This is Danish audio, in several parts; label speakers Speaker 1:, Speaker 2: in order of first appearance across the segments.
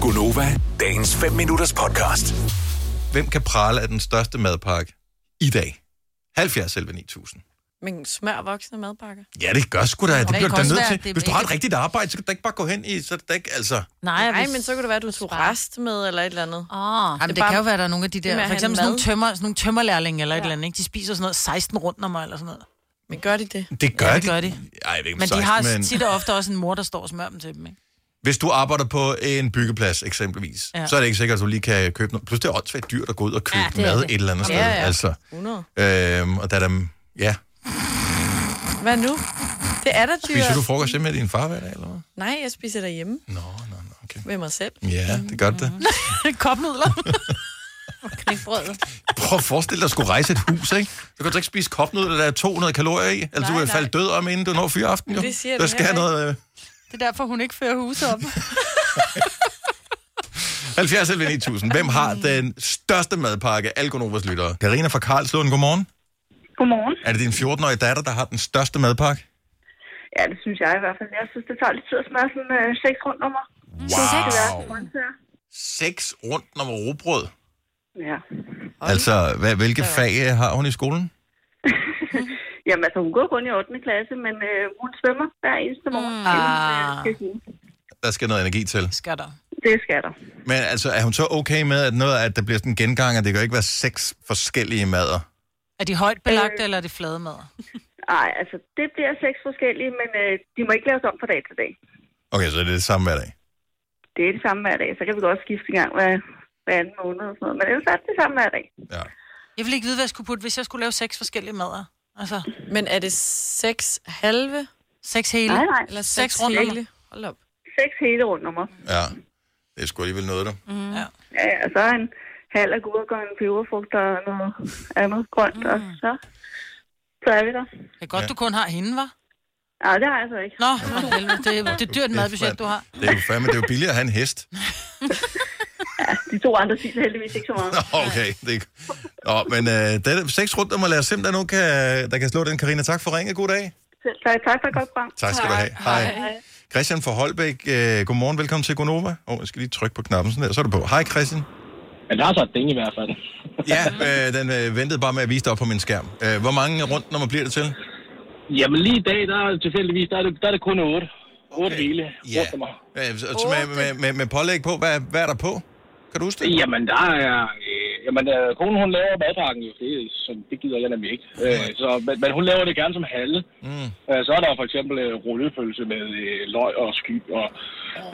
Speaker 1: Gunova, dagens 5 minutters podcast.
Speaker 2: Hvem kan prale af den største madpakke i dag? 70 selv 9000.
Speaker 3: Men smør voksne madpakker.
Speaker 2: Ja, det gør sgu da. Det
Speaker 4: det
Speaker 2: bliver du
Speaker 4: kan
Speaker 2: da
Speaker 4: også
Speaker 2: nødt
Speaker 4: være,
Speaker 2: til.
Speaker 4: at det
Speaker 2: Hvis du har et
Speaker 4: ikke-
Speaker 2: rigtigt arbejde, så kan du da ikke bare gå hen i, så er det da ikke, altså...
Speaker 4: Nej,
Speaker 3: Nej, Ah. men så kunne det være, at du tog rest med eller et eller andet.
Speaker 4: Oh, Jamen, det,
Speaker 3: det
Speaker 4: det
Speaker 3: bare-
Speaker 4: kan jo være, der er nogle af de
Speaker 3: Det med
Speaker 4: der...
Speaker 3: at
Speaker 4: For
Speaker 3: have
Speaker 4: eksempel sådan
Speaker 3: mad.
Speaker 4: nogle, tømmer, sådan nogle tømmerlærlinge eller ja. et eller andet, ikke? De spiser sådan noget 16 rundt om mig eller sådan noget.
Speaker 3: Men gør de det?
Speaker 2: Det gør,
Speaker 4: Ja, det
Speaker 2: de.
Speaker 4: gør de.
Speaker 2: Ej, jeg ved ikke,
Speaker 4: Men de
Speaker 2: sagt,
Speaker 4: har men... tit og ofte også en mor, der står og smører dem til dem, ikke?
Speaker 2: Hvis du arbejder på en byggeplads, eksempelvis, ja.
Speaker 4: Ja.
Speaker 2: så er det ikke sikkert, at du lige kan købe noget. Plus det er åndssvagt dyrt at gå ud og købe
Speaker 4: Ja,
Speaker 2: ja,
Speaker 4: det er
Speaker 2: mad
Speaker 4: det.
Speaker 2: et eller andet sted.
Speaker 3: Ja, ja.
Speaker 2: Altså,
Speaker 3: 100.
Speaker 2: øhm, og der er dem, ja.
Speaker 3: Hvad nu? Det er da dyrt.
Speaker 2: Spiser du Mm. frokost hjemme med din far hver dag, eller hvad?
Speaker 3: Nej, jeg spiser derhjemme
Speaker 2: Nå, nå, nå, okay.
Speaker 3: med mig selv.
Speaker 2: Ja, det gør det.
Speaker 4: Kopnudler.
Speaker 2: Prøv at forestille dig at skulle rejse et hus, ikke? Så kan du ikke spise kopnudler, der er 200 kalorier i. Eller du
Speaker 3: Nej,
Speaker 2: vil
Speaker 3: nej.
Speaker 2: falde død om, inden du når fyraften, jo.
Speaker 3: Det siger
Speaker 2: der
Speaker 3: det
Speaker 2: skal have
Speaker 3: heller
Speaker 2: noget... Øh,
Speaker 4: det er derfor, hun ikke fører huset op.
Speaker 2: 70 11 9000. Hvem har
Speaker 3: Mm.
Speaker 2: den største madpakke? Alle Gonovas lyttere. Karina fra Karlslund, godmorgen.
Speaker 5: Godmorgen.
Speaker 2: Er det din 14-årige datter, der har den største madpakke?
Speaker 5: Ja, det synes jeg i hvert fald. Jeg synes, det tager lidt tid at smøre sådan øh, seks rundt om mig.
Speaker 2: Wow.
Speaker 5: Grøntsager.
Speaker 2: Seks rundt om robrød.
Speaker 5: Ja.
Speaker 2: Altså, hvad, hvilke fag øh, har hun i skolen?
Speaker 5: Jamen altså, hun går kun i 8. klasse, men øh, hun svømmer hver eneste morgen. Mm.
Speaker 4: Ah.
Speaker 2: Der skal noget energi til.
Speaker 4: Skal der.
Speaker 5: Det skal der.
Speaker 2: Men altså, er hun så okay med, at, noget, at der bliver sådan en gengang, at det kan ikke være seks forskellige mader?
Speaker 4: Er de højt belagt, eller er det flade mad?
Speaker 5: Ej, altså, det bliver seks forskellige, men øh, de må ikke laves om fra dag til dag.
Speaker 2: Okay, så det er det samme hver dag.
Speaker 5: Det er det samme hver dag. Så kan vi godt skifte en gang hver, hver anden måned og sådan noget. Men ellers er det det samme hver dag.
Speaker 2: Ja.
Speaker 4: Jeg ville ikke vide, hvad jeg skulle putte, hvis jeg skulle lave seks forskellige mader. Altså,
Speaker 3: Men er det seks halve
Speaker 4: seks hele.
Speaker 5: Nej, nej.
Speaker 3: eller seks,
Speaker 4: Seks rundt om
Speaker 3: hele? Hold op.
Speaker 5: Seks hele rundt om mig.
Speaker 2: Ja. Det er sgu alligevel noget, der.
Speaker 4: Ja.
Speaker 5: Ja, ja, så en halv agurk og en peberfrugt og noget andet grønt, mm. og så, så er vi der.
Speaker 4: Det er godt,
Speaker 2: Ja.
Speaker 4: du kun har hende, var.
Speaker 5: Nej, det har jeg så ikke.
Speaker 4: Nå, for helvede, det, det er dyrt madbudget, du har.
Speaker 2: Det er jo fandme, det er jo billigere at have en hest.
Speaker 5: De to andre siger heldigvis ikke så meget.
Speaker 2: Nå, okay. Det... Nå, men øh, det er seks rundt om at lade simpelthen nogen, kan, der kan slå den. Karina, tak for ringet. God dag.
Speaker 5: Selv tak. Tak for et godt program.
Speaker 2: Tak skal du have. Hej. Hej. Christian fra Holbæk, øh, godmorgen, velkommen til Gonova. Åh, oh, jeg skal lige trykke på knappen sådan der, så er du på. Hej Christian.
Speaker 6: Men der er så et ding i hvert fald.
Speaker 2: Ja, øh, den øh, ventede bare med at vise dig op på min skærm. Øh, hvor mange rundt nummer bliver det til?
Speaker 6: Jamen lige i dag, der er tilfældigvis, der er det, der er det kun otte. Otte hele.
Speaker 2: Ja.
Speaker 6: Rundt om mig.
Speaker 2: Øh, så- så med, med, med, med pålæg på, hvad, hvad er der på? Kan du huske det?
Speaker 6: Jamen der er... Øh, jamen øh, konen hun laver madpakken jo, det, er sådan, det gider jeg nemlig ikke. Øh, så, men, men hun laver det gerne som halve. Mm. Øh, så er der for eksempel øh, rullepølse med øh, løg og sky og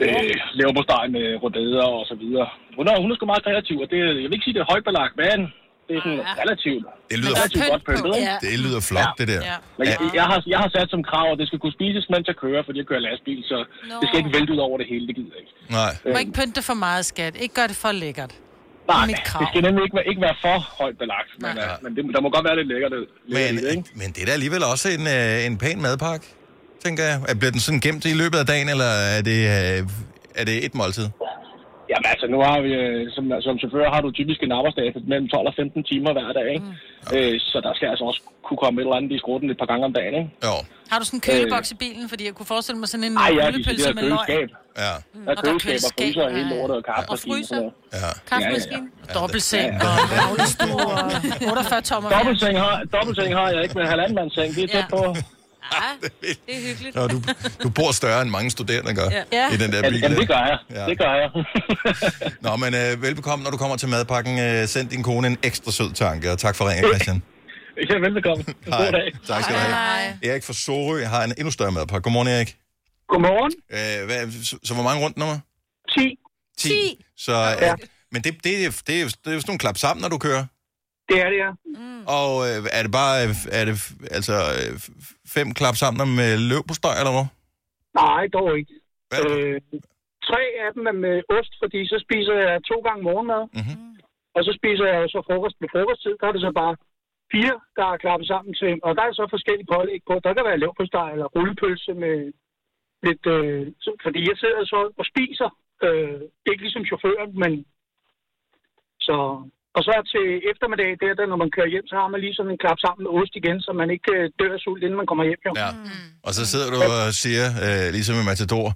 Speaker 6: øh, leverpostej med rodader og så videre. Hun er, hun er sgu meget kreativ, og det, jeg vil ikke sige, det er højbelagt, men det er sådan relativt,
Speaker 2: Det lyder,
Speaker 4: Men der er
Speaker 6: relativt godt
Speaker 4: pynt på.
Speaker 6: pyntet. ikke?
Speaker 4: Ja.
Speaker 2: det lyder flot, det der.
Speaker 4: Ja.
Speaker 6: Men jeg, jeg, har, jeg har sat som krav, at det skal kunne spises, mens jeg kører, fordi jeg kører lastbil, så no. det skal ikke vælte ud over det hele, det gider jeg ikke.
Speaker 2: Nej.
Speaker 4: Du må ikke pynte det for meget, skat. Ikke gør det for lækkert.
Speaker 6: Nej,
Speaker 4: mit krav.
Speaker 6: det skal nemlig ikke være, ikke være for højt belagt, men,
Speaker 4: Nej.
Speaker 6: uh, men det, der må godt være lidt lækkert. lækkert i det,
Speaker 2: Men,
Speaker 6: ikke?
Speaker 2: men det er da alligevel også en, øh, en pæn madpakke, tænker jeg. Er- Bliver den sådan gemt i løbet af dagen, eller er det, øh, er det et måltid?
Speaker 6: Jamen altså, nu har vi, øh, som, som chauffør har du typisk en arbejdsdag på mellem 12 og 15 timer hver dag, ikke? Mm. Øh, så der skal altså også kunne komme et eller andet i skrutten et par gange om dagen, ikke?
Speaker 2: Jo,
Speaker 4: Har du sådan en køleboks i bilen? Fordi jeg kunne forestille mig sådan en
Speaker 6: Ej, ja, de
Speaker 4: rullepølse
Speaker 6: sidder
Speaker 4: med løg. Mm,
Speaker 6: køleskab.
Speaker 2: ja.
Speaker 6: Der er
Speaker 4: og der er
Speaker 6: køleskab og
Speaker 4: køleskab,
Speaker 6: fryser og hele
Speaker 4: ja, ja.
Speaker 6: lortet og kaffe
Speaker 4: Og fryser.
Speaker 2: Ja.
Speaker 4: Kaffemaskine. Ja, ja. Dobbeltseng
Speaker 2: Ja,
Speaker 4: og maglestue og 48 tommer.
Speaker 6: Dobbeltseng har, dobbeltseng har jeg ikke, men halvandmandsseng, det er tæt
Speaker 4: Ja.
Speaker 6: på.
Speaker 3: Det er hyggeligt.
Speaker 2: Nå, du, du bor større end mange studerende gør
Speaker 4: Ja.
Speaker 2: i den der
Speaker 6: Ja,
Speaker 2: bil.
Speaker 6: jamen, det gør jeg.
Speaker 2: Ja.
Speaker 6: Det gør jeg.
Speaker 2: Nå, men øh, velbekomme, når du kommer til madpakken. Øh, send din kone en ekstra sød tanke, og tak for ringen, Christian.
Speaker 6: ja, velbekomme. God dag.
Speaker 2: Tak skal du have.
Speaker 4: Nej.
Speaker 2: Erik fra Sorø har en endnu større madpakke. Godmorgen, Erik.
Speaker 5: Godmorgen.
Speaker 2: Øh, hvad, så, så hvor mange rundt nummer?
Speaker 5: 10.
Speaker 2: 10. 10. Så, øh, ja. Men det, det, er- det, er, det er jo sådan nogle klap sammen, når du kører.
Speaker 5: Det er det, ja.
Speaker 2: Og øh, er det bare øh, er det, f- altså, øh, f- fem klap sammen om øh, løb på støj, eller hvad?
Speaker 5: Nej, dog ikke.
Speaker 2: Hvad?
Speaker 5: Øh, tre af dem er med ost, fordi så spiser jeg to gange morgenmad.
Speaker 2: Mhm.
Speaker 5: Og så spiser jeg jo så frokost med frokosttid. Der er det så bare fire, der er klappet sammen til. Og der er så forskellige pålæg på. Der kan være leverpostej eller rullepølse med lidt... Øh, så- fordi jeg sidder så og spiser. Øh, ikke ligesom chaufføren, men... Så, og så til eftermiddag, der, der, når man kører hjem, så har man lige sådan en klap sammen med ost igen, så man ikke øh, dør af sult, inden man kommer hjem. Jo.
Speaker 2: Ja. Og så sidder du og siger, øh, ligesom i Matador,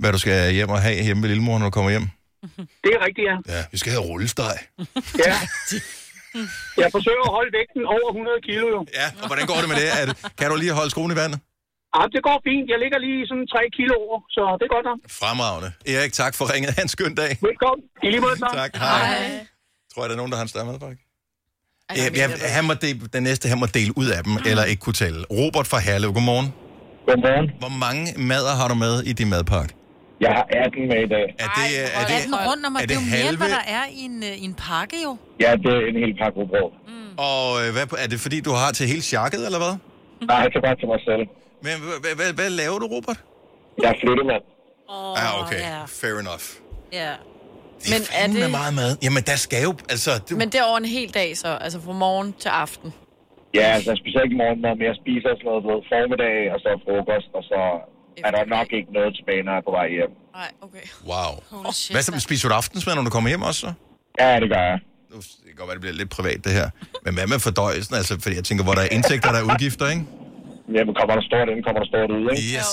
Speaker 2: hvad du skal hjem og have hjemme ved lillemor, når du kommer hjem.
Speaker 7: Det er rigtigt, ja.
Speaker 2: Ja, vi skal have rullesteg.
Speaker 7: ja. Jeg forsøger at holde vægten over 100 kilo, jo.
Speaker 2: Ja, og hvordan går det med det? At, kan du lige holde skoen i vandet?
Speaker 7: Ja, Ah, det går fint. Jeg ligger lige sådan 3 kilo over, så det er godt nok.
Speaker 2: Fremragende. Erik, tak for ringet. Ha' en skøn dag.
Speaker 7: Velkommen. I lige måde, tak.
Speaker 2: Tak, hej. Tror jeg, der er nogen, der har en større madpakke? Ja, ja, han Mm. må de, den næste, han må dele ud af dem, eller ikke kunne tælle. Robert fra Herlev, godmorgen.
Speaker 8: Godmorgen.
Speaker 2: Hvor mange mader har du med i din madpakke?
Speaker 8: Jeg har 18 med i dag.
Speaker 2: Er det, er
Speaker 4: Er den
Speaker 2: det,
Speaker 4: rundt om,
Speaker 2: er
Speaker 4: at det er
Speaker 2: det
Speaker 4: jo mere,
Speaker 2: halve?
Speaker 4: hvad der er i en, øh, i en pakke jo.
Speaker 8: Ja, det er en hel pakke rugbrød.
Speaker 2: og øh, hvad, er det fordi, du har til hele sjakket, eller hvad?
Speaker 8: Nej, det er bare til mig selv.
Speaker 2: Men hvad, hvad, hvad, hvad laver du, Robert?
Speaker 8: Jeg er flyttemand.
Speaker 4: Åh,
Speaker 2: Ja, ah, okay.
Speaker 4: Ja.
Speaker 2: Fair enough.
Speaker 3: Ja.
Speaker 2: Det
Speaker 3: Men
Speaker 2: er
Speaker 3: er
Speaker 2: fandme
Speaker 3: det-
Speaker 2: meget mad. Jamen, der skal jo... Altså, det,
Speaker 3: Men det er over en hel dag så, altså fra morgen til aften.
Speaker 8: Ja, altså specielt i morgen, når jeg spiser sådan noget ved formiddag, og så frokost, og så er der nok ikke noget tilbage, når jeg er på vej hjem.
Speaker 3: Nej, okay.
Speaker 2: wow.
Speaker 4: Holy shit.
Speaker 2: Hvad så, spiser du aftensmad, når du kommer hjem også? så?
Speaker 8: Ja, det gør jeg.
Speaker 2: Nu det kan godt være, det bliver lidt privat, det her. Men hvad med fordøjelsen? Altså, fordi jeg tænker, hvor der er indtægter, der er udgifter, ikke?
Speaker 8: Jamen, kommer der stort ind, kommer der stort ud, ikke?
Speaker 2: Yes.